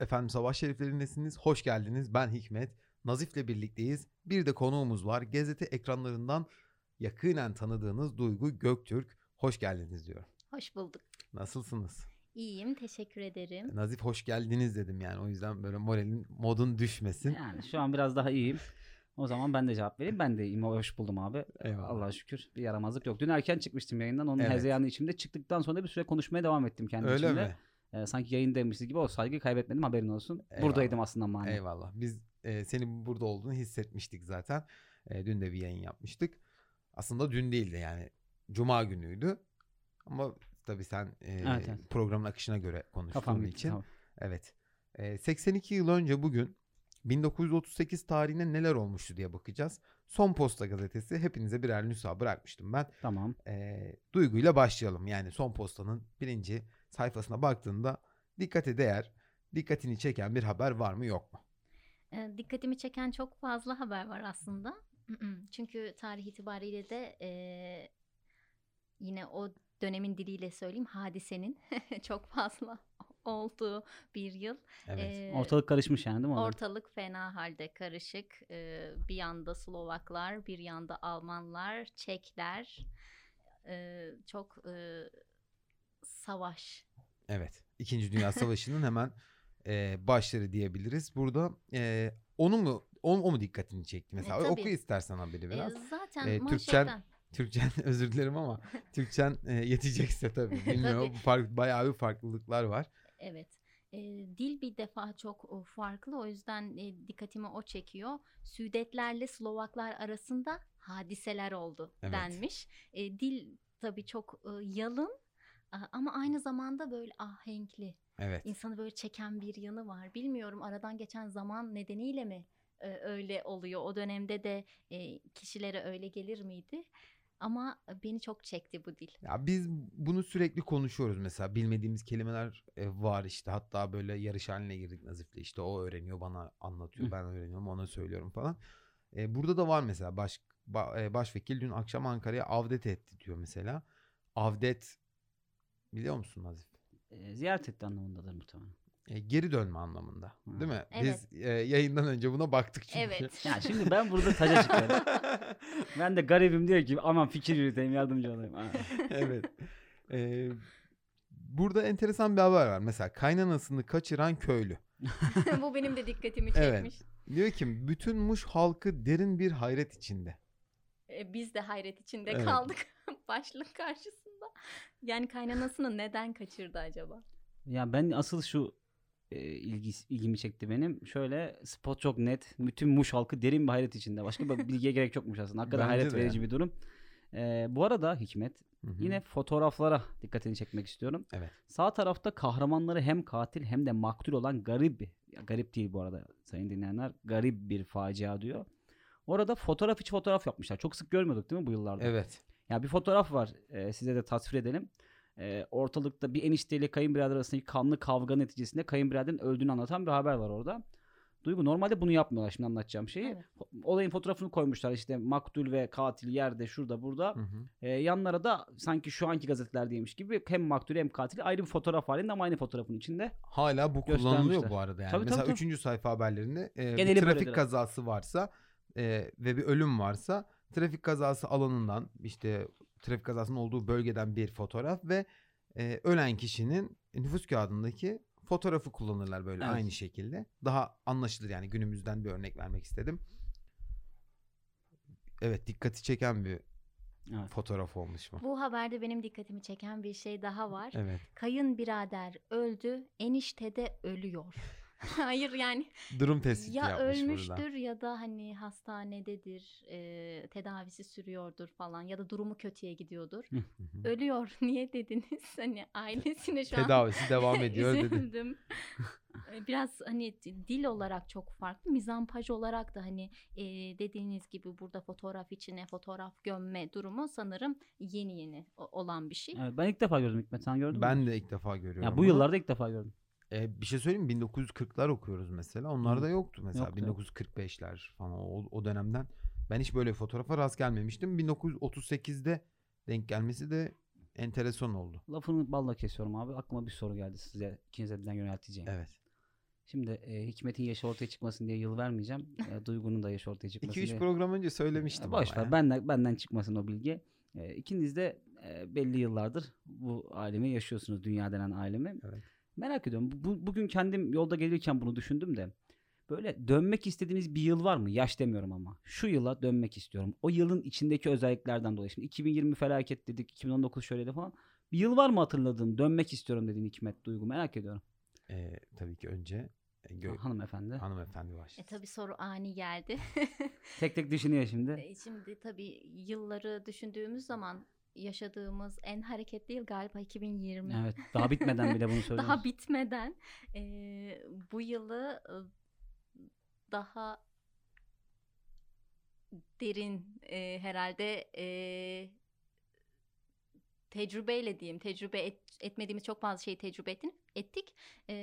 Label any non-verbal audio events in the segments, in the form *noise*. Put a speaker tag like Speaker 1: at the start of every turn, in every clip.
Speaker 1: Efendim Sabah Şeriflerindesiniz. Hoş geldiniz. Ben Hikmet. Nazif'le birlikteyiz. Bir de konuğumuz var. Gazete ekranlarından yakinen tanıdığınız Duygu Göktürk. Hoş geldiniz diyor.
Speaker 2: Hoş bulduk.
Speaker 1: Nasılsınız?
Speaker 2: İyiyim, teşekkür ederim.
Speaker 1: Nazif hoş geldiniz dedim yani. O yüzden böyle moralin modun düşmesin.
Speaker 3: Yani şu an biraz daha iyiyim. O zaman ben de cevap vereyim. Ben de iyiyim. Hoş buldum abi.
Speaker 1: Eyvallah.
Speaker 3: Allah'a şükür bir yaramazlık yok. Dün erken çıkmıştım yayından. Onun
Speaker 1: Evet.
Speaker 3: hezeyanı içimde. Çıktıktan sonra da bir süre konuşmaya devam ettim kendi
Speaker 1: Öyle
Speaker 3: içimde.
Speaker 1: mi?
Speaker 3: Ee, sanki yayın demişiz gibi o saygıyı kaybetmedim haberin olsun.
Speaker 1: Eyvallah.
Speaker 3: Buradaydım aslında mani.
Speaker 1: Eyvallah. Biz e, senin burada olduğunu hissetmiştik zaten. E, dün de bir yayın yapmıştık. Aslında dün değildi yani. Cuma günüydü. Ama tabii sen e,
Speaker 3: Evet, evet.
Speaker 1: programın akışına göre konuştuğun
Speaker 3: Kafam gitti.
Speaker 1: için.
Speaker 3: Tamam.
Speaker 1: Evet. E, 82 yıl önce bugün 1938 tarihinde neler olmuştu diye bakacağız. Son Posta gazetesi hepinize birer nüsha bırakmıştım ben.
Speaker 3: Tamam.
Speaker 1: E, duyguyla başlayalım. Yani Son Posta'nın birinci sayfasına baktığında dikkate değer, dikkatini çeken bir haber var mı yok mu?
Speaker 2: Ee, dikkatimi çeken çok fazla haber var aslında. Çünkü tarih itibariyle de e, yine o dönemin diliyle söyleyeyim hadisenin *laughs* çok fazla olduğu bir yıl.
Speaker 1: Evet.
Speaker 2: Ee,
Speaker 3: Ortalık karışmış yani değil mi? Orada?
Speaker 2: Ortalık fena halde karışık. Ee, bir yanda Slovaklar, bir yanda Almanlar, Çekler. Ee, çok e, savaş
Speaker 1: Evet. İkinci Dünya Savaşı'nın hemen e, başları diyebiliriz. Burada e, onu mu o, o mu dikkatini çekti mesela?
Speaker 2: E, tabii.
Speaker 1: Oku istersen haberi
Speaker 2: Ee,
Speaker 1: biraz.
Speaker 2: zaten
Speaker 1: Ee, Türkçen-
Speaker 2: manşetten.
Speaker 1: Türkçen *laughs* özür dilerim ama Türkçen e, yetecekse tabii. Bilmiyorum. Fark, bayağı bir farklılıklar var.
Speaker 2: Evet. E, dil bir defa çok e, farklı o yüzden e, dikkatimi o çekiyor. Südetlerle Slovaklar arasında hadiseler oldu
Speaker 1: Evet.
Speaker 2: denmiş. E, dil tabii çok e, yalın a- ama aynı zamanda böyle ahenkli.
Speaker 1: Evet.
Speaker 2: İnsanı böyle çeken bir yanı var. Bilmiyorum aradan geçen zaman nedeniyle mi e, öyle oluyor? O dönemde de e, kişilere öyle gelir miydi? Ama beni çok çekti bu dil.
Speaker 1: Ya biz bunu sürekli konuşuyoruz mesela bilmediğimiz kelimeler e, var işte hatta böyle yarış haline girdik Nazif'le işte o öğreniyor bana anlatıyor
Speaker 3: Hı.
Speaker 1: ben öğreniyorum ona söylüyorum falan. E, burada da var mesela baş ba- e, başvekil dün akşam Ankara'ya avdet etti diyor mesela. Avdet biliyor musun Nazif?
Speaker 3: Ee, ziyaret etti anlamındadır muhtemelen.
Speaker 1: E, geri dönme anlamında
Speaker 3: Hı.
Speaker 1: değil mi?
Speaker 2: Evet.
Speaker 1: Biz e, yayından önce buna baktık çünkü. *laughs*
Speaker 2: Evet.
Speaker 3: Ya şimdi ben burada taca çıkıyorum. ben de garibim diyor ki aman fikir yürüteyim yardımcı olayım. Ha.
Speaker 1: evet. Ee, burada enteresan bir haber var. Mesela kaynanasını kaçıran köylü.
Speaker 2: *laughs* bu benim de dikkatimi
Speaker 1: Evet.
Speaker 2: çekmiş.
Speaker 1: Diyor ki bütün Muş halkı derin bir hayret içinde.
Speaker 2: E, biz de hayret içinde
Speaker 1: Evet.
Speaker 2: kaldık *laughs* başlık karşısında. Yani kaynanasını neden kaçırdı acaba?
Speaker 3: Ya ben asıl şu e, ilgi, ilgimi çekti benim. Şöyle spot çok net. Bütün Muş halkı derin bir hayret içinde. Başka bir bilgiye gerek yokmuş aslında. Hakikaten
Speaker 1: Bence
Speaker 3: hayret
Speaker 1: de
Speaker 3: verici
Speaker 1: yani.
Speaker 3: bir durum. E, bu arada Hikmet
Speaker 1: Hı hı.
Speaker 3: yine fotoğraflara dikkatini çekmek istiyorum.
Speaker 1: Evet.
Speaker 3: Sağ tarafta kahramanları hem katil hem de maktul olan garip ya garip değil bu arada sayın dinleyenler. Garip bir facia diyor. Orada fotoğraf içi fotoğraf yapmışlar. Çok sık görmüyorduk değil mi bu yıllarda?
Speaker 1: Evet.
Speaker 3: Ya bir fotoğraf var. Ee, size de tasvir edelim. Ee, ortalıkta bir enişteyle kayınbirader arasındaki kanlı kavga neticesinde kayınbiraderin öldüğünü anlatan bir haber var orada. Duygu normalde bunu yapmıyorlar şimdi anlatacağım şeyi.
Speaker 2: Evet.
Speaker 3: Fo- Olayın fotoğrafını koymuşlar işte maktul ve katil yerde şurada burada.
Speaker 1: Hı hı.
Speaker 3: Ee, yanlara da sanki şu anki gazetelerdeymiş gibi hem maktul hem katili ayrı bir fotoğraf halinde ama aynı fotoğrafın içinde.
Speaker 1: Hala bu
Speaker 3: Göstermişler.
Speaker 1: kullanılıyor bu arada yani.
Speaker 3: Tabii, tabii,
Speaker 1: Mesela
Speaker 3: tabii.
Speaker 1: üçüncü sayfa haberlerinde e, bir
Speaker 3: Geneli böyle
Speaker 1: trafik
Speaker 3: direkt.
Speaker 1: kazası varsa e, ve bir ölüm varsa trafik kazası alanından işte trafik kazasının olduğu bölgeden bir fotoğraf ve e, ölen kişinin nüfus kağıdındaki fotoğrafı kullanırlar böyle
Speaker 3: Evet.
Speaker 1: aynı şekilde. Daha anlaşılır yani günümüzden bir örnek vermek istedim. Evet dikkati çeken bir
Speaker 3: Evet.
Speaker 1: fotoğraf olmuş bu.
Speaker 2: Bu haberde benim dikkatimi çeken bir şey daha var.
Speaker 1: Evet.
Speaker 2: Kayınbirader öldü, enişte de ölüyor. *laughs* Hayır yani
Speaker 1: Durum tespiti
Speaker 2: ya
Speaker 1: yapmış
Speaker 2: ölmüştür
Speaker 1: burada.
Speaker 2: ya da hani hastanededir, e, tedavisi sürüyordur falan ya da durumu kötüye gidiyordur.
Speaker 1: Hı hı.
Speaker 2: Ölüyor *laughs* niye dediniz? Hani ailesine şu an
Speaker 1: Tedavisi
Speaker 2: *laughs*
Speaker 1: devam ediyor dedi.
Speaker 2: Üzüldüm. Ee, Biraz hani d- dil olarak çok farklı. Mizampaj olarak da hani e, dediğiniz gibi burada fotoğraf içine fotoğraf gömme durumu sanırım yeni yeni o- olan bir şey.
Speaker 3: Evet, ben ilk defa gördüm Hikmet sen gördün mü?
Speaker 1: Ben de ilk defa görüyorum.
Speaker 3: Ya bu
Speaker 1: bunu.
Speaker 3: yıllarda ilk defa gördüm.
Speaker 1: E, bir şey söyleyeyim mi? 1940'lar okuyoruz mesela. Onlarda yoktu mesela.
Speaker 3: Yoktu.
Speaker 1: 1945'ler falan o, o dönemden. Ben hiç böyle fotoğrafa rast gelmemiştim. 1938'de denk gelmesi de enteresan oldu.
Speaker 3: Lafını balla kesiyorum abi. Aklıma bir soru geldi size ikinize birden yönelteceğim.
Speaker 1: Evet.
Speaker 3: Şimdi e, Hikmet'in yaşı ortaya çıkmasın diye yıl vermeyeceğim. E, Duygu'nun da yaşı ortaya çıkmasın
Speaker 1: 2-3
Speaker 3: diye.
Speaker 1: program önce söylemiştim.
Speaker 3: Ya Boş
Speaker 1: ama
Speaker 3: ver.
Speaker 1: ya.
Speaker 3: Benden, benden çıkmasın o bilgi. Ee, ikiniz de e, belli yıllardır bu alemi yaşıyorsunuz. Dünya denen alemi.
Speaker 1: Evet.
Speaker 3: Merak ediyorum. Bu, bugün kendim yolda gelirken bunu düşündüm de. Böyle dönmek istediğiniz bir yıl var mı? Yaş demiyorum ama. Şu yıla dönmek istiyorum. O yılın içindeki özelliklerden dolayı. Şimdi 2020 felaket dedik. 2019 şöyleydi falan. Bir yıl var mı hatırladığın? Dönmek istiyorum dediğin Hikmet Duygu. Merak ediyorum.
Speaker 1: Ee, tabii ki önce e, gö-
Speaker 3: Hanımefendi.
Speaker 1: hanımefendi başlasın.
Speaker 2: E tabi soru ani geldi.
Speaker 3: Tek tek düşünüyor şimdi.
Speaker 2: *laughs* E, Şimdi tabii yılları düşündüğümüz zaman yaşadığımız en hareketli yıl galiba 2020.
Speaker 3: Evet. Daha bitmeden
Speaker 2: *laughs*
Speaker 3: bile bunu söylüyorsun.
Speaker 2: Daha bitmeden e, bu yılı e, daha derin e, herhalde e, tecrübeyle diyeyim tecrübe et- etmediğimiz çok fazla şeyi tecrübe ettin, ettik E,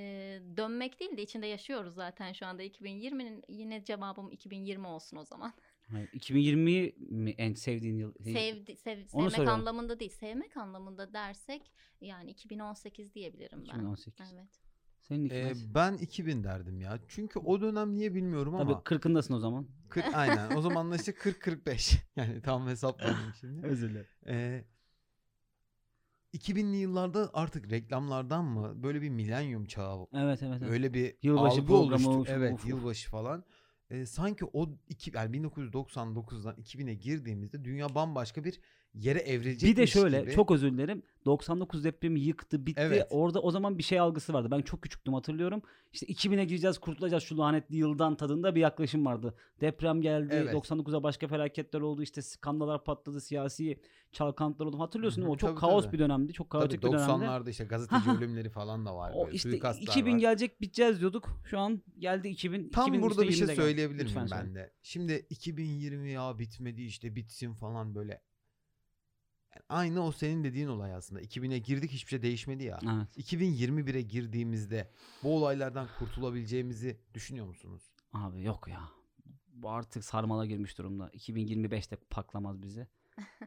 Speaker 2: dönmek değil de içinde yaşıyoruz zaten şu anda 2020'nin yine cevabım 2020 olsun o zaman
Speaker 3: Hayır, 2020'yi mi en sevdiğin yıl?
Speaker 2: Sevdi, sev, sevmek
Speaker 3: Onu soruyorum.
Speaker 2: anlamında değil. Sevmek anlamında dersek yani 2018 diyebilirim ben.
Speaker 3: 2018.
Speaker 2: Evet.
Speaker 3: Senin
Speaker 1: Ee,
Speaker 3: hikmet.
Speaker 1: ben 2000 derdim ya. Çünkü o dönem niye bilmiyorum
Speaker 3: Tabii
Speaker 1: ama.
Speaker 3: 40'ındasın o zaman.
Speaker 1: 40, aynen. O zamanlar işte 40-45. *laughs* Yani tam hesapladım şimdi.
Speaker 3: Özür dilerim.
Speaker 1: Ee, 2000'li yıllarda artık reklamlardan mı böyle bir milenyum çağı
Speaker 3: Evet evet. evet.
Speaker 1: öyle bir
Speaker 3: Yılbaşı
Speaker 1: algı
Speaker 3: programı
Speaker 1: oluştu.
Speaker 3: olsun,
Speaker 1: evet
Speaker 3: of, of.
Speaker 1: yılbaşı falan. Ee, sanki o iki, yani 1999'dan 2000'e girdiğimizde dünya bambaşka bir yere evrilecekmiş
Speaker 3: bir de şöyle
Speaker 1: gibi.
Speaker 3: çok özür dilerim. 99 depremi yıktı bitti.
Speaker 1: Evet.
Speaker 3: Orada o zaman bir şey algısı vardı. Ben çok küçüktüm hatırlıyorum. İşte 2000'e gireceğiz kurtulacağız şu lanetli yıldan tadında bir yaklaşım vardı. Deprem geldi.
Speaker 1: Evet.
Speaker 3: 99'a başka felaketler oldu. İşte skandalar patladı. Siyasi çalkantılar oldu. Hatırlıyorsun
Speaker 1: Hı
Speaker 3: değil mi?
Speaker 1: hı,
Speaker 3: o çok
Speaker 1: tabii,
Speaker 3: kaos
Speaker 1: tabii.
Speaker 3: bir dönemdi. Çok
Speaker 1: Tabii
Speaker 3: kaotik bir dönemdi.
Speaker 1: 90'larda işte gazeteci
Speaker 3: *laughs* Ha, ha.
Speaker 1: ölümleri falan da var.
Speaker 3: O
Speaker 1: böyle,
Speaker 3: işte
Speaker 1: suikastlar
Speaker 3: 2000
Speaker 1: var.
Speaker 3: gelecek biteceğiz diyorduk. Şu an geldi 2000.
Speaker 1: Tam
Speaker 3: 2000
Speaker 1: burada
Speaker 3: işte
Speaker 1: bir şey
Speaker 3: 20'de geldi.
Speaker 1: söyleyebilir miyim
Speaker 3: Lütfen
Speaker 1: ben
Speaker 3: söyle.
Speaker 1: de? Şimdi 2020 ya bitmedi işte bitsin falan böyle. Yani aynı o senin dediğin olay aslında. 2000'e girdik hiçbir şey değişmedi ya.
Speaker 3: Evet.
Speaker 1: 2021'e girdiğimizde bu olaylardan kurtulabileceğimizi düşünüyor musunuz?
Speaker 3: Abi yok ya. Bu artık sarmala girmiş durumda. 2025'te
Speaker 1: *laughs*
Speaker 3: paklamaz bizi.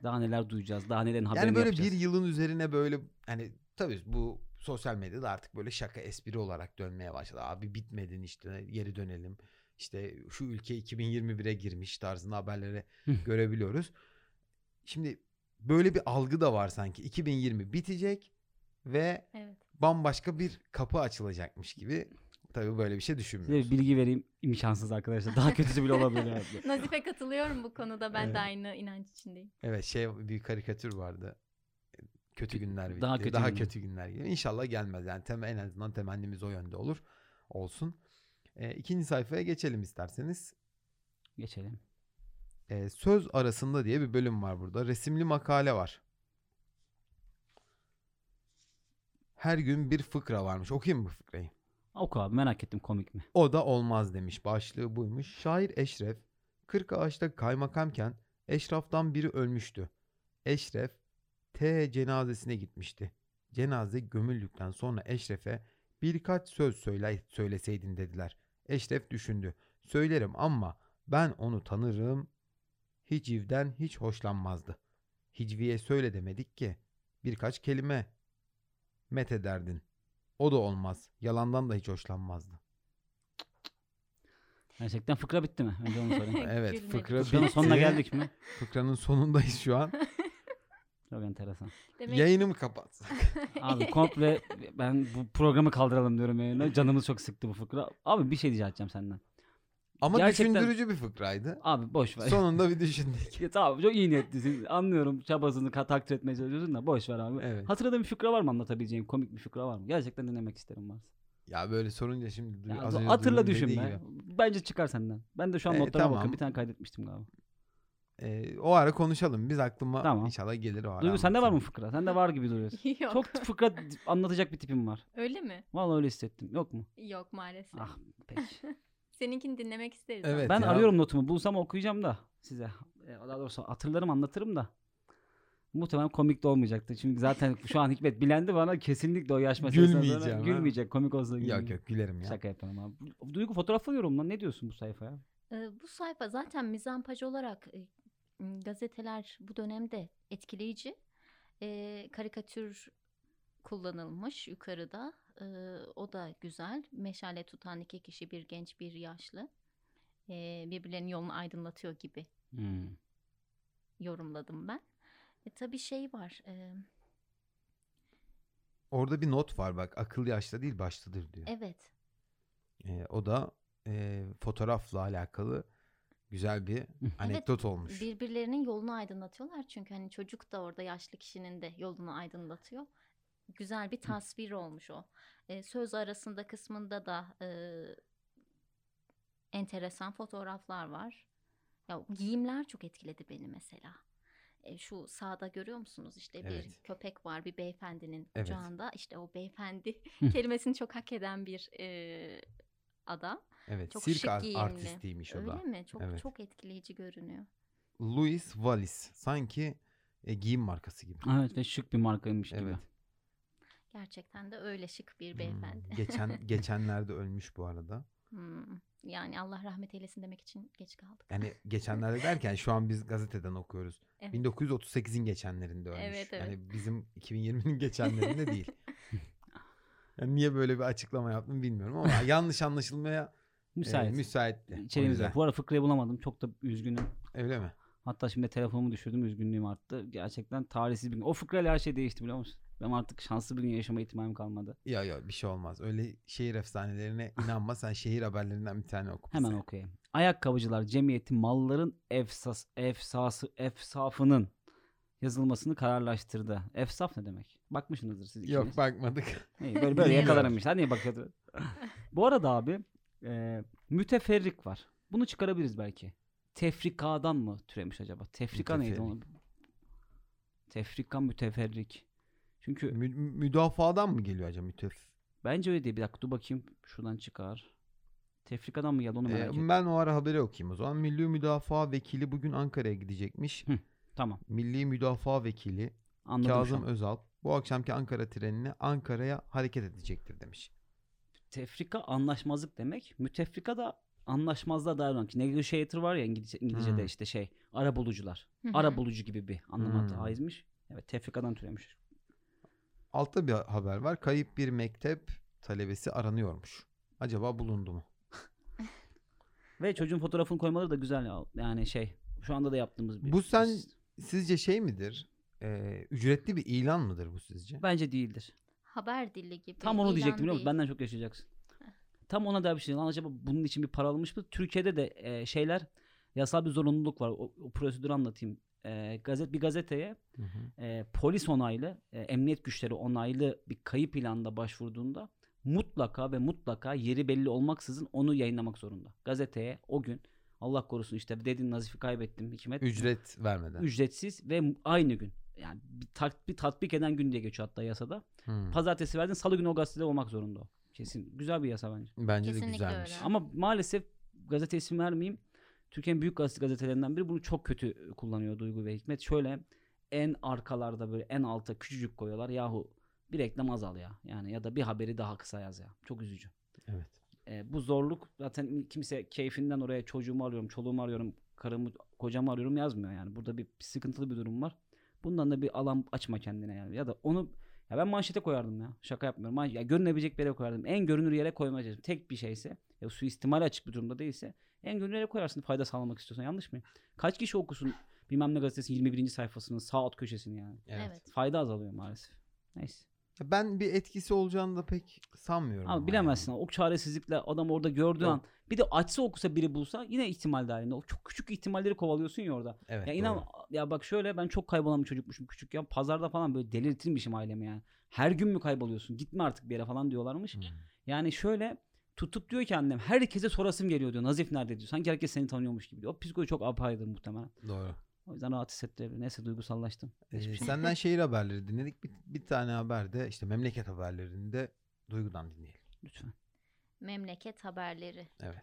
Speaker 3: Daha neler duyacağız, daha nelerin haberini
Speaker 1: yani böyle
Speaker 3: yapacağız.
Speaker 1: bir yılın üzerine böyle hani tabii bu sosyal medyada artık böyle şaka espri olarak dönmeye başladı. Abi bitmedin işte geri dönelim. İşte şu ülke 2021'e girmiş tarzında haberleri
Speaker 3: Hı.
Speaker 1: görebiliyoruz. Şimdi böyle bir algı da var sanki. 2020 bitecek ve
Speaker 2: Evet.
Speaker 1: bambaşka bir kapı açılacakmış gibi. Tabii böyle bir şey
Speaker 3: Size bir
Speaker 1: düşünmüyoruz.
Speaker 3: bilgi vereyim. imkansız arkadaşlar. Daha kötüsü bile
Speaker 1: *laughs*
Speaker 3: olabilir. evet.
Speaker 2: *laughs* Nazife katılıyorum bu konuda. Ben
Speaker 1: Evet.
Speaker 2: de aynı inanç içindeyim.
Speaker 1: Evet şey bir karikatür vardı. Kötü günler bitti.
Speaker 3: Daha
Speaker 1: Daha
Speaker 3: kötü
Speaker 1: kötü,
Speaker 3: günler.
Speaker 1: günler geliyor. İnşallah gelmez. Yani tem- en azından temennimiz o yönde olur. Olsun. E, ikinci sayfaya geçelim isterseniz.
Speaker 3: Geçelim.
Speaker 1: E, söz arasında diye bir bölüm var burada. Resimli makale var. Her gün bir fıkra varmış. Okuyayım mı bu fıkrayı?
Speaker 3: Oku abi merak ettim komik mi?
Speaker 1: O da olmaz demiş. Başlığı buymuş. Şair Eşref, Kırkağaç'ta kaymakamken Eşraf'tan biri ölmüştü. Eşref, T cenazesine gitmişti. Cenaze gömüldükten sonra Eşref'e birkaç söz söyle, söyleseydin dediler. Eşref düşündü. Söylerim ama ben onu tanırım. Hiciv'den hiç hoşlanmazdı. Hicvi'ye söyle demedik ki. Birkaç kelime met ederdin. O da olmaz. Yalandan da hiç hoşlanmazdı.
Speaker 3: Gerçekten fıkra bitti mi? Önce onu
Speaker 2: *laughs*
Speaker 3: sorayım.
Speaker 1: Evet
Speaker 2: Gülmedik.
Speaker 1: *laughs* fıkra
Speaker 3: Fıkranın
Speaker 1: bitti.
Speaker 3: sonuna geldik mi?
Speaker 1: *laughs* Fıkranın sonundayız şu an.
Speaker 3: Çok enteresan.
Speaker 2: Demek *laughs*
Speaker 1: Yayını mı kapat?
Speaker 3: Abi komple ben bu programı kaldıralım diyorum yayına. Canımız çok sıktı bu fıkra. Abi bir şey rica edeceğim senden.
Speaker 1: Ama
Speaker 3: Gerçekten-
Speaker 1: düşündürücü bir fıkraydı.
Speaker 3: Abi boş ver.
Speaker 1: Sonunda bir düşündük.
Speaker 3: *laughs* Ya tamam çok iyi niyetlisin. Anlıyorum çabasını ka- takdir etmeye çalışıyorsun da boş ver abi.
Speaker 1: Evet.
Speaker 3: Hatırladığın bir fıkra var mı anlatabileceğim? Komik bir fıkra var mı? Gerçekten dinlemek isterim varsa.
Speaker 1: Ya böyle sorunca şimdi duy-
Speaker 3: Ya
Speaker 1: az önce
Speaker 3: hatırla
Speaker 1: Duygu'nun
Speaker 3: düşün be.
Speaker 1: dediği gibi.
Speaker 3: Bence çıkar senden. Ben de şu an
Speaker 1: E,
Speaker 3: notlara bakıyorum.
Speaker 1: tamam.
Speaker 3: Bir tane kaydetmiştim galiba.
Speaker 1: Ee, o ara konuşalım. Biz aklıma
Speaker 3: Tamam.
Speaker 1: inşallah gelir o ara.
Speaker 3: Duygu sende var mı
Speaker 1: anlatırım.
Speaker 3: fıkra? Sende var gibi duruyorsun.
Speaker 2: *laughs* Yok.
Speaker 3: Çok fıkra d- anlatacak bir tipim var.
Speaker 2: Öyle mi?
Speaker 3: Vallahi öyle hissettim. Yok mu?
Speaker 2: Yok maalesef.
Speaker 3: Ah peki.
Speaker 2: Seninkini dinlemek isteriz.
Speaker 1: Evet
Speaker 3: ben
Speaker 1: ya.
Speaker 3: arıyorum notumu. Bulsam okuyacağım da size. E, Daha doğrusu hatırlarım anlatırım da. Muhtemelen komik de olmayacaktı.
Speaker 1: *laughs*
Speaker 3: Çünkü zaten şu an Hikmet bilendi bana kesinlikle o yaş meselesinden sonra
Speaker 1: Gülmeyeceğim abi.
Speaker 3: Gülmeyecek. Komik olsa da gülmeyecek.
Speaker 1: Yok yok gülerim ya.
Speaker 3: Şaka yapıyorum abi. Duygu fotoğrafı diyorum lan. Ne diyorsun bu sayfaya?
Speaker 2: Ee, bu sayfa zaten mizampaj olarak e, m, gazeteler bu dönemde etkileyici. Ee, karikatür kullanılmış yukarıda. Ee, o da güzel. Meşale tutan iki kişi, bir genç, bir yaşlı. Ee, birbirlerinin yolunu aydınlatıyor gibi
Speaker 3: Hmm.
Speaker 2: yorumladım ben. E, tabii şey var. e,
Speaker 1: Orada bir not var bak akıl yaşta değil baştadır diyor.
Speaker 2: evet.
Speaker 1: Ee, o da e, fotoğrafla alakalı güzel bir anekdot olmuş.
Speaker 2: Birbirlerinin yolunu aydınlatıyorlar çünkü hani çocuk da orada yaşlı kişinin de yolunu aydınlatıyor. Güzel bir tasvir olmuş o. E, söz arasında kısmında da e, enteresan fotoğraflar var. Ya giyimler çok etkiledi beni mesela. E, şu sağda görüyor musunuz işte bir
Speaker 1: Evet.
Speaker 2: köpek var bir beyefendinin
Speaker 1: Evet.
Speaker 2: kucağında. İşte o
Speaker 1: *laughs*
Speaker 2: beyefendi *laughs*
Speaker 3: Hı.
Speaker 2: kelimesini çok hak eden bir e, adam.
Speaker 1: Evet,
Speaker 2: Çok
Speaker 1: sirk
Speaker 2: şık
Speaker 1: ar-
Speaker 2: giyimli.
Speaker 1: artistiymiş o
Speaker 2: Öyle
Speaker 1: da.
Speaker 2: mi? Çok
Speaker 1: Evet.
Speaker 2: çok etkileyici görünüyor.
Speaker 1: Louis Wallis sanki e, giyim markası gibi.
Speaker 3: Evet ve şık bir markaymış gibi.
Speaker 1: Evet.
Speaker 2: Gerçekten de öyle şık bir
Speaker 1: Hmm,
Speaker 2: beyefendi. *laughs*
Speaker 1: Geçen geçenlerde ölmüş bu arada.
Speaker 2: Hmm, Yani Allah rahmet eylesin demek için geç kaldık.
Speaker 1: Yani geçenlerde derken şu an biz gazeteden okuyoruz.
Speaker 2: Evet.
Speaker 1: 1938'in geçenlerinde ölmüş.
Speaker 2: Evet, evet.
Speaker 1: Yani bizim 2020'nin geçenlerinde
Speaker 2: *laughs*
Speaker 1: değil. Yani niye böyle bir açıklama yaptım bilmiyorum ama yanlış anlaşılmaya e,
Speaker 3: Müsait.
Speaker 1: müsaitti. O
Speaker 3: İçeriğimiz
Speaker 1: yüzden.
Speaker 3: yok. Bu ara fıkrayı bulamadım. Çok da üzgünüm.
Speaker 1: Öyle mi?
Speaker 3: Hatta şimdi telefonumu düşürdüm. Üzgünlüğüm arttı. Gerçekten tarihsiz bir gün. O fıkrayla her şey değişti biliyor musun? Benim artık şanslı bir gün yaşama ihtimalim kalmadı.
Speaker 1: Ya ya bir şey olmaz. Öyle şehir efsanelerine inanma. Sen şehir haberlerinden bir tane oku.
Speaker 3: Hemen
Speaker 1: bize.
Speaker 3: okuyayım. Ayakkabıcılar Cemiyeti malların efsas, efsası, efsafının yazılmasını kararlaştırdı. Efsaf ne demek? Bakmışsınızdır siz ikiniz.
Speaker 1: Yok
Speaker 3: *laughs*
Speaker 1: bakmadık. *laughs*
Speaker 3: İyi, böyle böyle
Speaker 1: Bilmiyorum.
Speaker 3: yakalarım işte. Hani bakıyordu. Bu arada abi e, müteferrik var. Bunu çıkarabiliriz belki. Tefrikadan mı türemiş acaba? Tefrika neydi onu?
Speaker 1: Müteferrik.
Speaker 3: Tefrika müteferrik. Çünkü
Speaker 1: Mü- müdafadan mı geliyor acaba mütef?
Speaker 3: bence öyle değil. Bir dakika dur bakayım. Şuradan çıkar. Tefrikadan mı geldi onu
Speaker 1: Ee,
Speaker 3: merak ettim.
Speaker 1: ben o ara haberi okuyayım o zaman. Milli Müdafaa Vekili bugün Ankara'ya gidecekmiş.
Speaker 3: Tamam.
Speaker 1: Milli Müdafaa Vekili
Speaker 3: Anladım şu
Speaker 1: Kazım
Speaker 3: an.
Speaker 1: Özal bu akşamki Ankara trenine Ankara'ya hareket edecektir demiş.
Speaker 3: Tefrika anlaşmazlık demek. Mütefrika da anlaşmazlığa dair olan. Negotiator var ya İngilizce, İngilizce'de
Speaker 1: Hmm.
Speaker 3: işte şey. Ara bulucular.
Speaker 2: Hı hı.
Speaker 3: Ara bulucu gibi bir anlamata
Speaker 1: Hmm.
Speaker 3: aizmiş. Evet tefrikadan türemiş.
Speaker 1: Altta bir haber var. Kayıp bir mektep talebesi aranıyormuş. Acaba bulundu mu?
Speaker 3: Ve çocuğun fotoğrafını koymaları da güzel ya. Yani şey şu anda da yaptığımız bir.
Speaker 1: Bu sen-
Speaker 3: biz-
Speaker 1: Sizce şey midir? Ee, ücretli bir ilan mıdır bu sizce?
Speaker 3: Bence değildir.
Speaker 2: Haber dili gibi.
Speaker 3: Tam onu
Speaker 2: ilan
Speaker 3: diyecektim biliyor musun?
Speaker 2: değil.
Speaker 3: Benden çok yaşayacaksın. Tam ona da bir şey. Lan acaba bunun için bir para alınmış mı? Türkiye'de de e, şeyler yasal bir zorunluluk var. O, o prosedürü anlatayım. E, gazet bir gazeteye
Speaker 1: Hı hı.
Speaker 3: e, polis onaylı, e, emniyet güçleri onaylı bir kayıp ilanında başvurduğunda mutlaka ve mutlaka yeri belli olmaksızın onu yayınlamak zorunda. Gazeteye o gün Allah korusun işte dedin Nazif'i kaybettim Hikmet.
Speaker 1: Ücret vermeden.
Speaker 3: ücretsiz ve m- aynı gün. Yani bir, tat, bir tatbik eden gün diye geçiyor hatta yasada.
Speaker 1: Hı.
Speaker 3: Pazartesi verdin salı günü o gazetede olmak zorunda o. Kesin güzel bir yasa bence.
Speaker 1: Bence de
Speaker 2: Kesinlikle
Speaker 1: güzelmiş.
Speaker 2: öyle.
Speaker 3: Ama maalesef gazete isim vermeyeyim. Türkiye'nin büyük gazete gazetelerinden biri bunu çok kötü kullanıyor Duygu ve Hikmet. Şöyle en arkalarda böyle en alta küçücük koyuyorlar. Yahu bir reklam azal ya. Yani ya da bir haberi daha kısa yaz ya. Çok üzücü.
Speaker 1: Evet.
Speaker 3: E, bu zorluk zaten kimse keyfinden oraya çocuğumu arıyorum, çoluğumu arıyorum, karımı, kocamı arıyorum yazmıyor yani. Burada bir sıkıntılı bir durum var. Bundan da bir alan açma kendine yani. Ya da onu ya ben manşete koyardım ya. Şaka yapmıyorum. Man- ya görünebilecek bir yere koyardım. En görünür yere koymaya çalıştım. Tek bir şeyse, ya suistimale açık bir durumda değilse en görünür yere koyarsın fayda sağlamak istiyorsan. Yanlış mı? Kaç kişi okusun bilmem ne gazetesinin 21. sayfasının sağ alt köşesini yani.
Speaker 1: Evet.
Speaker 2: Evet.
Speaker 3: Fayda azalıyor maalesef. Neyse.
Speaker 1: Ben bir etkisi olacağını da pek sanmıyorum.
Speaker 3: Abi
Speaker 1: ama
Speaker 3: bilemezsin. O çaresizlikle adam orada gördüğü
Speaker 1: Yok.
Speaker 3: an bir de açsa okusa biri bulsa yine ihtimal dahilinde. O çok küçük ihtimalleri kovalıyorsun ya orada.
Speaker 1: yani. Evet.
Speaker 3: ya
Speaker 1: doğru.
Speaker 3: inan ya bak şöyle ben çok kaybolan bir çocukmuşum küçük ya. Pazarda falan böyle delirtirmişim ailemi yani. Her gün mü kayboluyorsun? Gitme artık bir yere falan diyorlarmış.
Speaker 1: Hı.
Speaker 3: Yani şöyle tutup diyor ki annem herkese sorasım geliyor diyor. Nazif nerede diyor. Sanki herkes seni tanıyormuş gibi diyor. O psikoloji çok apayrıdır muhtemelen.
Speaker 1: Doğru.
Speaker 3: O yüzden rahat hissettirebilir. Neyse duygusallaştım.
Speaker 1: Ee, senden şehir haberleri dinledik. Bir, bir tane haber de işte memleket haberlerinde Duygu'dan dinleyelim.
Speaker 3: Lütfen.
Speaker 2: Memleket haberleri.
Speaker 1: Evet.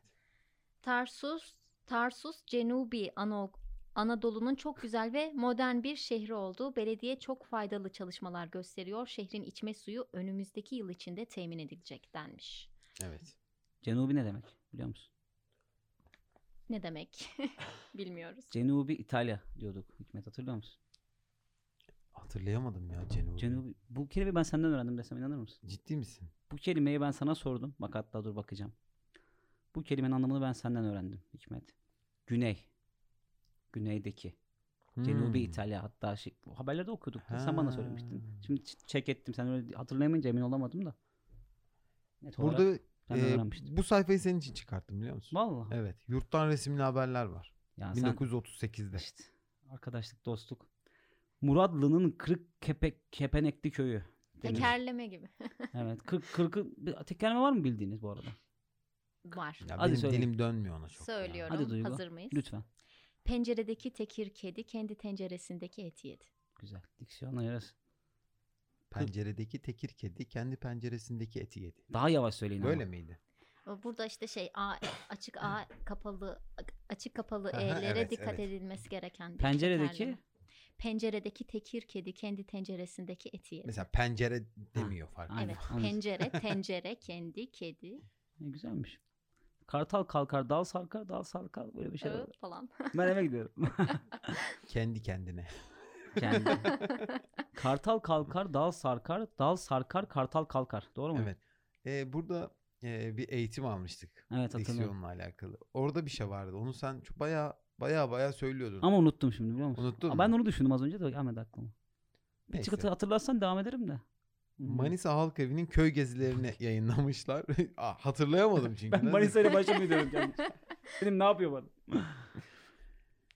Speaker 2: Tarsus, Tarsus Cenubi Ano- Anadolu'nun çok güzel ve modern bir şehri olduğu belediye çok faydalı çalışmalar gösteriyor. Şehrin içme suyu önümüzdeki yıl içinde temin edilecek denmiş.
Speaker 1: Evet.
Speaker 3: Cenubi ne demek biliyor musun?
Speaker 2: Ne demek? *laughs* Bilmiyoruz.
Speaker 3: Cenubi İtalya diyorduk. Hikmet hatırlıyor musun?
Speaker 1: Hatırlayamadım ya Cenub.
Speaker 3: Cenab- bu kelimeyi ben senden öğrendim desem inanır mısın?
Speaker 1: Ciddi misin?
Speaker 3: Bu kelimeyi ben sana sordum. Bak hatta dur bakacağım. Bu kelimenin anlamını ben senden öğrendim Hikmet. Güney. Güneydeki. Cenubi
Speaker 1: Hmm.
Speaker 3: İtalya hatta şey, haberlerde okuyorduk. Sen bana söylemiştin.
Speaker 1: Ha.
Speaker 3: Şimdi ç- check ettim. Sen öyle hatırlayamayınca emin olamadım da. Net olarak
Speaker 1: Burada
Speaker 3: ben
Speaker 1: e,
Speaker 3: öğrenmiştim.
Speaker 1: bu sayfayı senin için çıkarttım biliyor musun?
Speaker 3: Vallahi.
Speaker 1: Evet. Yurttan resimli haberler var.
Speaker 3: Ya sen-
Speaker 1: 1938'de.
Speaker 3: İşte arkadaşlık, dostluk. Muradlı'nın kırık kepek kepenekli köyü. demiş.
Speaker 2: Tekerleme gibi.
Speaker 3: Evet. Kırk, kırkı, bir tekerleme var mı bildiğiniz bu
Speaker 1: *laughs*
Speaker 3: arada?
Speaker 2: Var.
Speaker 1: Ya
Speaker 3: Hadi
Speaker 1: benim
Speaker 3: söyle.
Speaker 1: dilim dönmüyor ona çok. ya.
Speaker 2: Söylüyorum.
Speaker 3: Hadi Duygu.
Speaker 2: Hazır mıyız?
Speaker 3: Lütfen.
Speaker 2: Penceredeki tekir kedi kendi tenceresindeki eti yedi.
Speaker 3: Güzel. Diksiyona yarasın.
Speaker 1: Penceredeki tekir kedi kendi penceresindeki eti yedi.
Speaker 3: Daha yavaş söyleyin ama.
Speaker 1: Böyle miydi?
Speaker 2: Burada işte şey A, açık A kapalı açık kapalı
Speaker 1: Aha,
Speaker 2: E'lere
Speaker 1: evet,
Speaker 2: dikkat
Speaker 1: evet.
Speaker 2: edilmesi gereken bir
Speaker 3: Penceredeki-
Speaker 2: tekerleme. penceredeki tekir kedi kendi tenceresindeki eti yedi.
Speaker 1: Mesela pencere demiyor fark
Speaker 3: aynen.
Speaker 2: evet.
Speaker 3: anladım. *laughs*
Speaker 2: Pencere, tencere, kendi, kedi
Speaker 3: Ne E, güzelmiş. Kartal kalkar, dal sarkar, dal sarkar. Böyle bir şey.
Speaker 2: ıı,
Speaker 3: var.
Speaker 2: falan.
Speaker 3: Ben eve gidiyorum.
Speaker 1: Kendi kendine.
Speaker 3: Kendi. Kartal kalkar, dal sarkar, dal sarkar, kartal kalkar. Doğru mu?
Speaker 1: evet. Ee, burada e, bir eğitim almıştık.
Speaker 3: Evet hatırlıyorum.
Speaker 1: Diksiyonla alakalı. Orada bir şey vardı. Onu sen çok baya baya baya söylüyordun.
Speaker 3: Ama unuttum şimdi biliyor musun?
Speaker 1: Unuttun
Speaker 3: Ben
Speaker 1: mu?
Speaker 3: onu düşündüm az önce de gelmedi aklıma. Bir
Speaker 1: Neyse.
Speaker 3: çıktı hatırlarsan devam ederim de. Hı hı.
Speaker 1: Manisa Halk Evi'nin köy
Speaker 3: *laughs*
Speaker 1: gezilerini yayınlamışlar. *laughs* Aa, Hatırlayamadım çünkü.
Speaker 3: Ben
Speaker 1: Nerede?
Speaker 3: Manisa ile başa
Speaker 1: *laughs*
Speaker 3: mı diyorum? Benim ne yapıyor bana?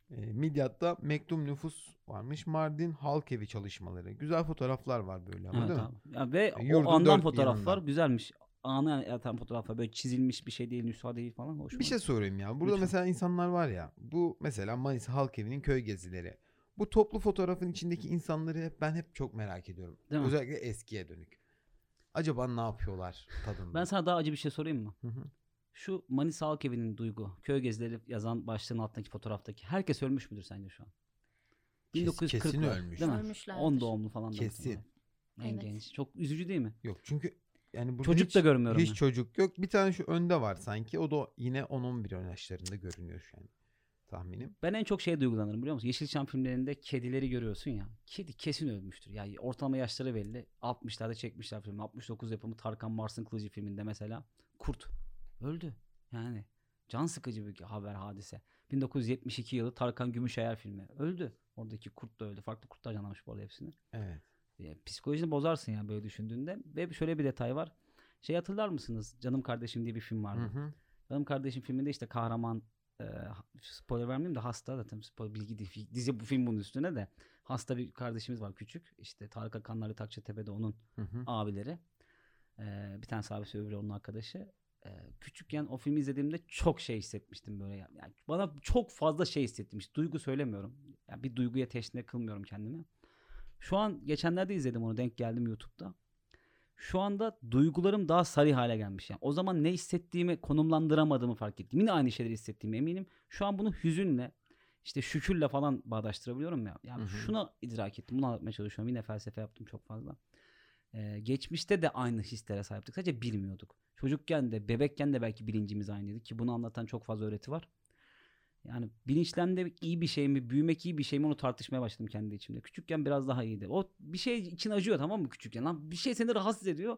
Speaker 1: E, Midyat'ta mektum nüfus varmış. Mardin Halk Evi çalışmaları. Güzel fotoğraflar var böyle ama
Speaker 3: Evet
Speaker 1: değil mi?
Speaker 3: abi. Ya ve
Speaker 1: Yurdun
Speaker 3: o andan
Speaker 1: dört bir
Speaker 3: fotoğraflar
Speaker 1: yanından.
Speaker 3: güzelmiş. Ana yatan fotoğraflar böyle çizilmiş bir şey değil, nüsha değil falan. Hoşuma
Speaker 1: Bir şey sorayım ya. Burada
Speaker 3: Lütfen.
Speaker 1: mesela insanlar var ya. Bu mesela Manisa Halk Evi'nin köy gezileri. Bu toplu fotoğrafın içindeki insanları hep, ben hep çok merak ediyorum.
Speaker 3: Değil mi?
Speaker 1: Özellikle eskiye dönük. Acaba ne yapıyorlar tadında?
Speaker 3: Ben sana daha acı bir şey sorayım mı?
Speaker 1: Hı hı.
Speaker 3: Şu Manisa Halk Evi'nin duygu, köy gezileri yazan başlığın altındaki fotoğraftaki herkes ölmüş müdür sence şu an?
Speaker 1: Kes-
Speaker 3: 1940
Speaker 1: kesin
Speaker 3: lar,
Speaker 1: ölmüş.
Speaker 3: Değil mi?
Speaker 2: Ölmüşlerdir.
Speaker 3: 10 doğumlu falan. da
Speaker 1: Kesin.
Speaker 3: muhtemelen. En
Speaker 2: Evet.
Speaker 3: genç. Çok üzücü değil mi?
Speaker 1: Yok çünkü yani burada
Speaker 3: Çocuk
Speaker 1: hiç,
Speaker 3: da görmüyorum.
Speaker 1: hiç
Speaker 3: ben.
Speaker 1: çocuk yok. Bir tane şu önde var sanki. O da yine 10-11 yaşlarında görünüyor şu an tahminim.
Speaker 3: Ben en çok şeye duygulanırım biliyor musun? Yeşilçam filmlerinde kedileri görüyorsun ya. Kedi kesin ölmüştür. Yani ortalama yaşları belli. 60'larda çekmişler filmi. 69 yapımı Tarkan Mars'ın Kılıcı filminde mesela kurt öldü. Yani can sıkıcı bir haber hadise. 1972 yılı Tarkan Gümüşayar filmi. Öldü. Oradaki kurt da öldü. Farklı kurtlar canlamış bu arada hepsini.
Speaker 1: Evet.
Speaker 3: E, psikolojini bozarsın ya böyle düşündüğünde. Ve şöyle bir detay var. Şey hatırlar mısınız? Canım Kardeşim diye bir film vardı.
Speaker 1: Hı hı.
Speaker 3: Benim kardeşim filminde işte kahraman e, ha- spoiler vermeyeyim de hasta zaten spoiler bilgi değil. Fi- Dizi bu film bunun üstüne de hasta bir kardeşimiz var küçük. İşte Tarık Akanlar'ı Takçatepe'de onun
Speaker 1: Hı hı.
Speaker 3: abileri. E, bir tanesi abisi öbürü onun arkadaşı. E, küçükken o filmi izlediğimde çok şey hissetmiştim böyle. ya. Yani bana çok fazla şey hissetmiş. Duygu söylemiyorum. Yani bir duyguya teşne kılmıyorum kendimi. Şu an geçenlerde izledim onu denk geldim YouTube'da. Şu anda duygularım daha sarı hale gelmiş. Yani o zaman ne hissettiğimi konumlandıramadığımı fark ettim. Yine aynı şeyleri hissettiğimi eminim. Şu an bunu hüzünle işte şükürle falan bağdaştırabiliyorum ya. Yani
Speaker 1: Hı hı.
Speaker 3: şuna idrak ettim. Bunu anlatmaya çalışıyorum. Yine felsefe yaptım çok fazla. Ee, geçmişte de aynı hislere sahiptik. Sadece bilmiyorduk. Çocukken de bebekken de belki bilincimiz aynıydı ki bunu anlatan çok fazla öğreti var. Yani bilinçlenmek iyi bir şey mi, büyümek iyi bir şey mi onu tartışmaya başladım kendi içimde. Küçükken biraz daha iyiydi. O bir şey için acıyor tamam mı küçükken? Lan bir şey seni rahatsız ediyor.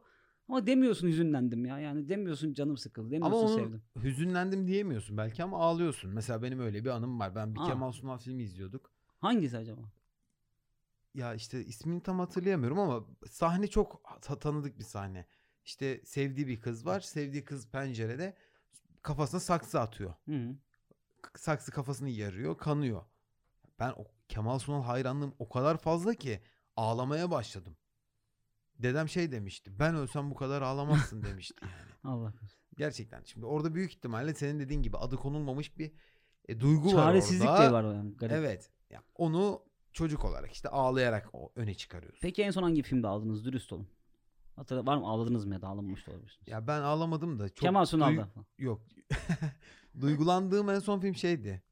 Speaker 3: Ama demiyorsun hüzünlendim ya. Yani demiyorsun canım sıkıldı.
Speaker 1: Ama
Speaker 3: Demiyorsun
Speaker 1: onu
Speaker 3: sevdim.
Speaker 1: hüzünlendim diyemiyorsun belki ama ağlıyorsun. Mesela benim öyle bir anım var. Ben bir
Speaker 3: Aa.
Speaker 1: Kemal Sunal filmi izliyorduk.
Speaker 3: Hangisi acaba?
Speaker 1: Ya işte ismini tam hatırlayamıyorum ama sahne çok ta- tanıdık bir sahne. İşte sevdiği bir kız var. Sevdiği kız pencerede kafasına saksı atıyor.
Speaker 3: Hı -hı.
Speaker 1: K- Saksı kafasını yarıyor, kanıyor. Ben o Kemal Sunal hayranlığım o kadar fazla ki ağlamaya başladım. Dedem şey demişti. Ben ölsem bu kadar ağlamazsın
Speaker 3: *laughs*
Speaker 1: demişti yani.
Speaker 3: Allah korusun.
Speaker 1: Gerçekten. Şimdi orada büyük ihtimalle senin dediğin gibi adı konulmamış bir e, duygu var
Speaker 3: Çaresizlik
Speaker 1: orada.
Speaker 3: de var o yani. Garip.
Speaker 1: Evet. Ya onu çocuk olarak işte ağlayarak o öne çıkarıyorsun.
Speaker 3: Peki en son hangi filmde ağladınız? Dürüst olun. Hatırla var mı ağladınız mı ya da ağlamamış da olabilirsiniz.
Speaker 1: Ya ben ağlamadım da çok
Speaker 3: Kemal Sunal'da.
Speaker 1: duy-
Speaker 3: *laughs*
Speaker 1: Yok. Duygulandığım en son film şeydi.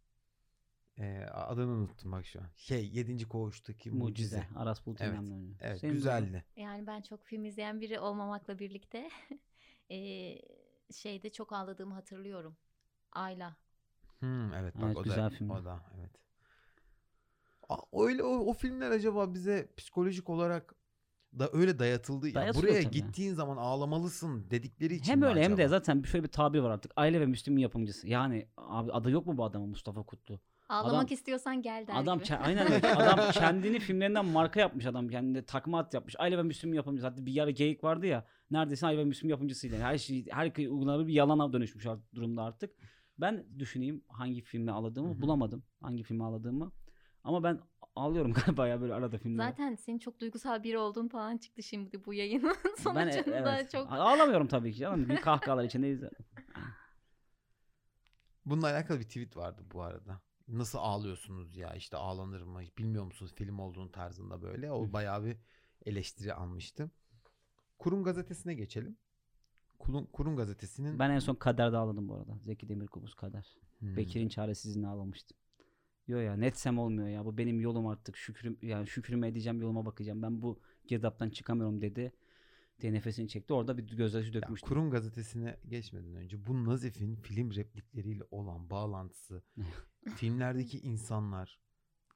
Speaker 1: Ee, adını unuttum bak şu an. Şey 7. Koğuş'taki
Speaker 3: Mucize. Şey
Speaker 1: Mucize.
Speaker 3: Aras Bulut
Speaker 1: Evet.
Speaker 3: İrem'le oynuyor.
Speaker 1: Evet
Speaker 3: Senin duygun-
Speaker 1: güzeldi.
Speaker 2: Yani ben çok film izleyen biri olmamakla birlikte *laughs* eee, şeyde çok ağladığımı hatırlıyorum. Ayla.
Speaker 1: Hmm, evet bak
Speaker 3: Evet,
Speaker 1: o
Speaker 3: güzel
Speaker 1: da
Speaker 3: filmdi.
Speaker 1: o da evet. A- Öyle o, o filmler acaba bize psikolojik olarak da öyle dayatıldı. ya.
Speaker 3: Dayatılıyor
Speaker 1: buraya
Speaker 3: tabii.
Speaker 1: gittiğin zaman ağlamalısın dedikleri için
Speaker 3: Hem
Speaker 1: mi
Speaker 3: öyle hem de
Speaker 1: acaba?
Speaker 3: zaten şöyle bir tabir var artık. Aile ve Müslüm'ün yapımcısı. Yani abi adı yok mu bu adamın Mustafa Kutlu?
Speaker 2: Ağlamak
Speaker 3: Adam-
Speaker 2: istiyorsan gel der
Speaker 3: Adam
Speaker 2: gibi.
Speaker 3: ke- aynen öyle.
Speaker 2: *laughs*
Speaker 3: adam kendini filmlerinden marka yapmış adam. Kendine takma at yapmış. Aile ve Müslüm yapımcısı. Hatta bir yara geyik vardı ya. Neredeyse Aile ve Müslüm yapımcısıydı. Her şey her kıy- uygulanabilir bir yalana dönüşmüş art- durumda artık. Ben düşüneyim hangi filmi ağladığımı
Speaker 1: Hı hı.
Speaker 3: bulamadım. Hangi filmi ağladığımı. Ama ben ağlıyorum *laughs* galiba ya böyle arada filmlere.
Speaker 2: Zaten senin çok duygusal biri olduğun falan çıktı şimdi bu yayının *laughs*
Speaker 3: Ben e-
Speaker 2: sonucunda
Speaker 3: evet.
Speaker 2: çok.
Speaker 3: Ağlamıyorum tabii ki canım. Bir kahkahalar içindeyiz.
Speaker 1: Bununla alakalı bir tweet vardı bu arada. Nasıl ağlıyorsunuz ya işte ağlanır mı bilmiyor musunuz film olduğunu tarzında böyle. O
Speaker 3: Hı.
Speaker 1: bayağı bir eleştiri almıştı. Kurum gazetesine geçelim. Kurum, Kurum gazetesinin
Speaker 3: Ben en son Kader'de ağladım bu arada. Zeki Demirkubuz Kader.
Speaker 1: Hmm.
Speaker 3: Bekir'in çaresizliğini ağlamıştım. Diyor ya netsem olmuyor ya bu benim yolum artık şükrüm yani şükrümü edeceğim yoluma bakacağım ben bu girdaptan çıkamıyorum dedi diye nefesini çekti orada bir gözyaşı
Speaker 1: Ya
Speaker 3: dökmüştü.
Speaker 1: kurum gazetesine geçmeden önce bu Nazif'in film replikleriyle olan
Speaker 3: *laughs*
Speaker 1: bağlantısı, filmlerdeki insanlar.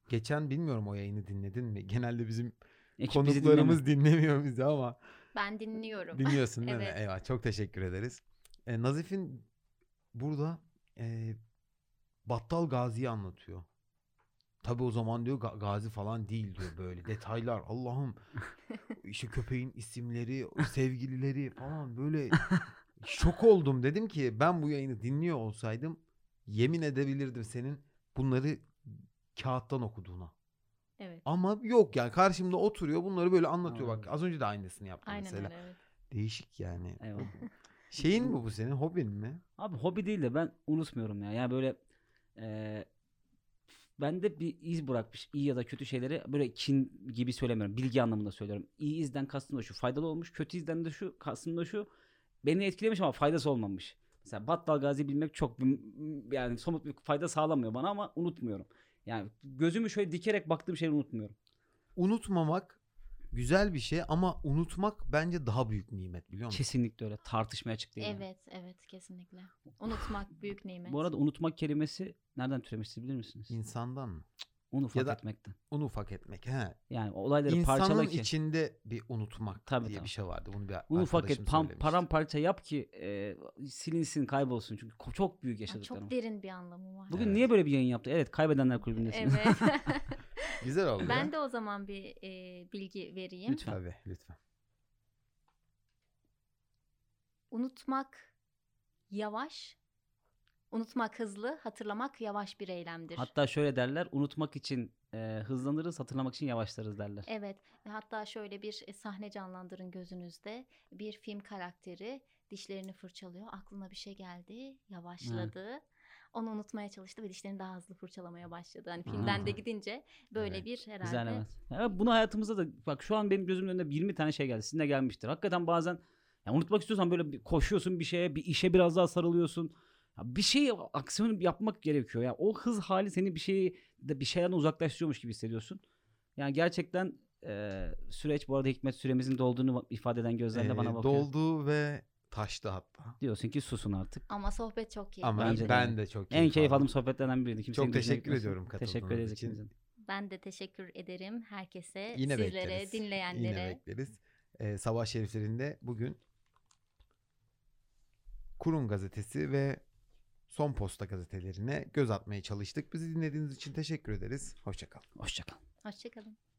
Speaker 1: Geçen bilmiyorum o yayını dinledin mi? Genelde bizim
Speaker 3: Ekip bizi dinlemiyor.
Speaker 1: konuklarımız dinlemiyor bizi ama
Speaker 2: Ben *laughs* dinliyorum.
Speaker 1: dinliyorsun değil
Speaker 2: Evet.
Speaker 1: mi? Eyvah çok teşekkür ederiz. E, Nazif'in burada e, Battal Gazi'yi anlatıyor. Tabi o zaman diyor Ga- Gazi falan değil diyor böyle detaylar
Speaker 2: *laughs*
Speaker 1: Allah'ım işte köpeğin isimleri sevgilileri falan böyle şok oldum dedim ki ben bu yayını dinliyor olsaydım yemin edebilirdim senin bunları kağıttan okuduğuna.
Speaker 2: Evet.
Speaker 1: Ama yok yani karşımda oturuyor bunları böyle anlatıyor
Speaker 3: Aynen
Speaker 1: bak
Speaker 3: öyle.
Speaker 1: az önce de aynısını yaptı
Speaker 2: Aynen
Speaker 1: mesela.
Speaker 2: öyle. Evet.
Speaker 1: Değişik yani.
Speaker 2: *laughs*
Speaker 3: Eyvallah.
Speaker 1: Şeyin mi bu senin hobin mi?
Speaker 3: Abi hobi değil de ben unutmuyorum ya. Yani böyle eee bende bir iz bırakmış iyi ya da kötü şeyleri böyle kin gibi söylemiyorum. Bilgi anlamında söylüyorum. İyi izden kastım da şu faydalı olmuş. Kötü izden de şu kastım da şu beni etkilemiş ama faydası olmamış. Mesela Battal Gazi bilmek çok bir- yani somut bir fayda sağlamıyor bana ama unutmuyorum. Yani gözümü şöyle dikerek baktığım şeyleri unutmuyorum.
Speaker 1: Unutmamak güzel bir şey ama unutmak bence daha büyük nimet biliyor musun?
Speaker 3: Kesinlikle öyle tartışmaya açık değil. yani.
Speaker 2: Evet, evet kesinlikle. Unutmak büyük nimet.
Speaker 3: Bu arada unutmak kelimesi nereden türemiştir bilir misiniz?
Speaker 1: İnsandan mı?
Speaker 3: Onu fark
Speaker 1: da-
Speaker 3: etmekten.
Speaker 1: Onu ufak etmek. He.
Speaker 3: Yani olayları
Speaker 1: İnsanın
Speaker 3: parçala ki.
Speaker 1: içinde bir unutmak
Speaker 3: Tabii,
Speaker 1: diye
Speaker 3: tabii.
Speaker 1: bir şey vardı. Bunu bir
Speaker 3: Bunu
Speaker 1: arkadaşım
Speaker 3: ufak et, pam,
Speaker 1: söylemişti.
Speaker 3: paramparça yap ki e, silinsin, kaybolsun. Çünkü ko- çok büyük
Speaker 2: Aa,
Speaker 3: yaşadıklarım.
Speaker 2: Çok derin bir anlamı var.
Speaker 3: Bugün
Speaker 1: Evet.
Speaker 3: niye böyle bir yayın yaptı? Evet, kaybedenler kulübündesiniz.
Speaker 2: *laughs* Evet. *laughs*
Speaker 1: Güzel oldu.
Speaker 2: ben de o zaman bir e, bilgi vereyim.
Speaker 3: Lütfen.
Speaker 1: Tabii lütfen.
Speaker 2: Unutmak yavaş, unutmak hızlı, hatırlamak yavaş bir eylemdir.
Speaker 3: *laughs* Hatta şöyle derler, unutmak için e, hızlanırız, hatırlamak için yavaşlarız derler.
Speaker 2: Evet. Hatta şöyle bir e, sahne canlandırın gözünüzde. Bir film karakteri dişlerini fırçalıyor. Aklına bir şey geldi. Yavaşladı. Onu unutmaya çalıştı ve dişlerini daha hızlı fırçalamaya başladı. Hani filmden de
Speaker 1: Aha.
Speaker 2: gidince böyle
Speaker 1: Evet.
Speaker 2: bir herhalde.
Speaker 3: Güzel evet. Ya bunu hayatımızda da bak şu an benim gözümün önünde 20 tane şey geldi. Sizin de gelmiştir. Hakikaten bazen ya unutmak istiyorsan böyle bir koşuyorsun bir şeye, bir işe biraz daha sarılıyorsun. Ya bir şey aksiyon yapmak gerekiyor. Ya o hız hali seni bir şeyi de bir şeyden uzaklaştırıyormuş gibi hissediyorsun. Yani gerçekten e, süreç bu arada Hikmet süremizin dolduğunu ifade eden gözlerle
Speaker 1: Ee,
Speaker 3: bana bakıyor.
Speaker 1: doldu ve taştı hatta.
Speaker 3: Diyorsun ki susun artık.
Speaker 2: Ama sohbet çok keyifli.
Speaker 1: Ama
Speaker 3: Bence de.
Speaker 1: ben de çok
Speaker 3: en keyif
Speaker 1: aldım.
Speaker 3: aldığım sohbetlerden biriydi. Kimsenin
Speaker 1: Çok
Speaker 3: gücüne
Speaker 1: teşekkür
Speaker 3: gitmesin.
Speaker 1: ediyorum
Speaker 3: Teşekkür
Speaker 1: katıldığınız
Speaker 3: ederiz
Speaker 1: için.
Speaker 3: ikinizin.
Speaker 2: Ben de teşekkür ederim herkese,
Speaker 1: Yine
Speaker 2: sizlere,
Speaker 1: bekleriz. Yine
Speaker 2: dinleyenlere.
Speaker 1: bekleriz. Ee, Sabah şeriflerinde bugün Kurum gazetesi ve Son Posta gazetelerine göz atmaya çalıştık. Bizi dinlediğiniz için teşekkür ederiz. Hoşçakalın.
Speaker 3: Hoşçakalın.
Speaker 2: Hoşçakalın.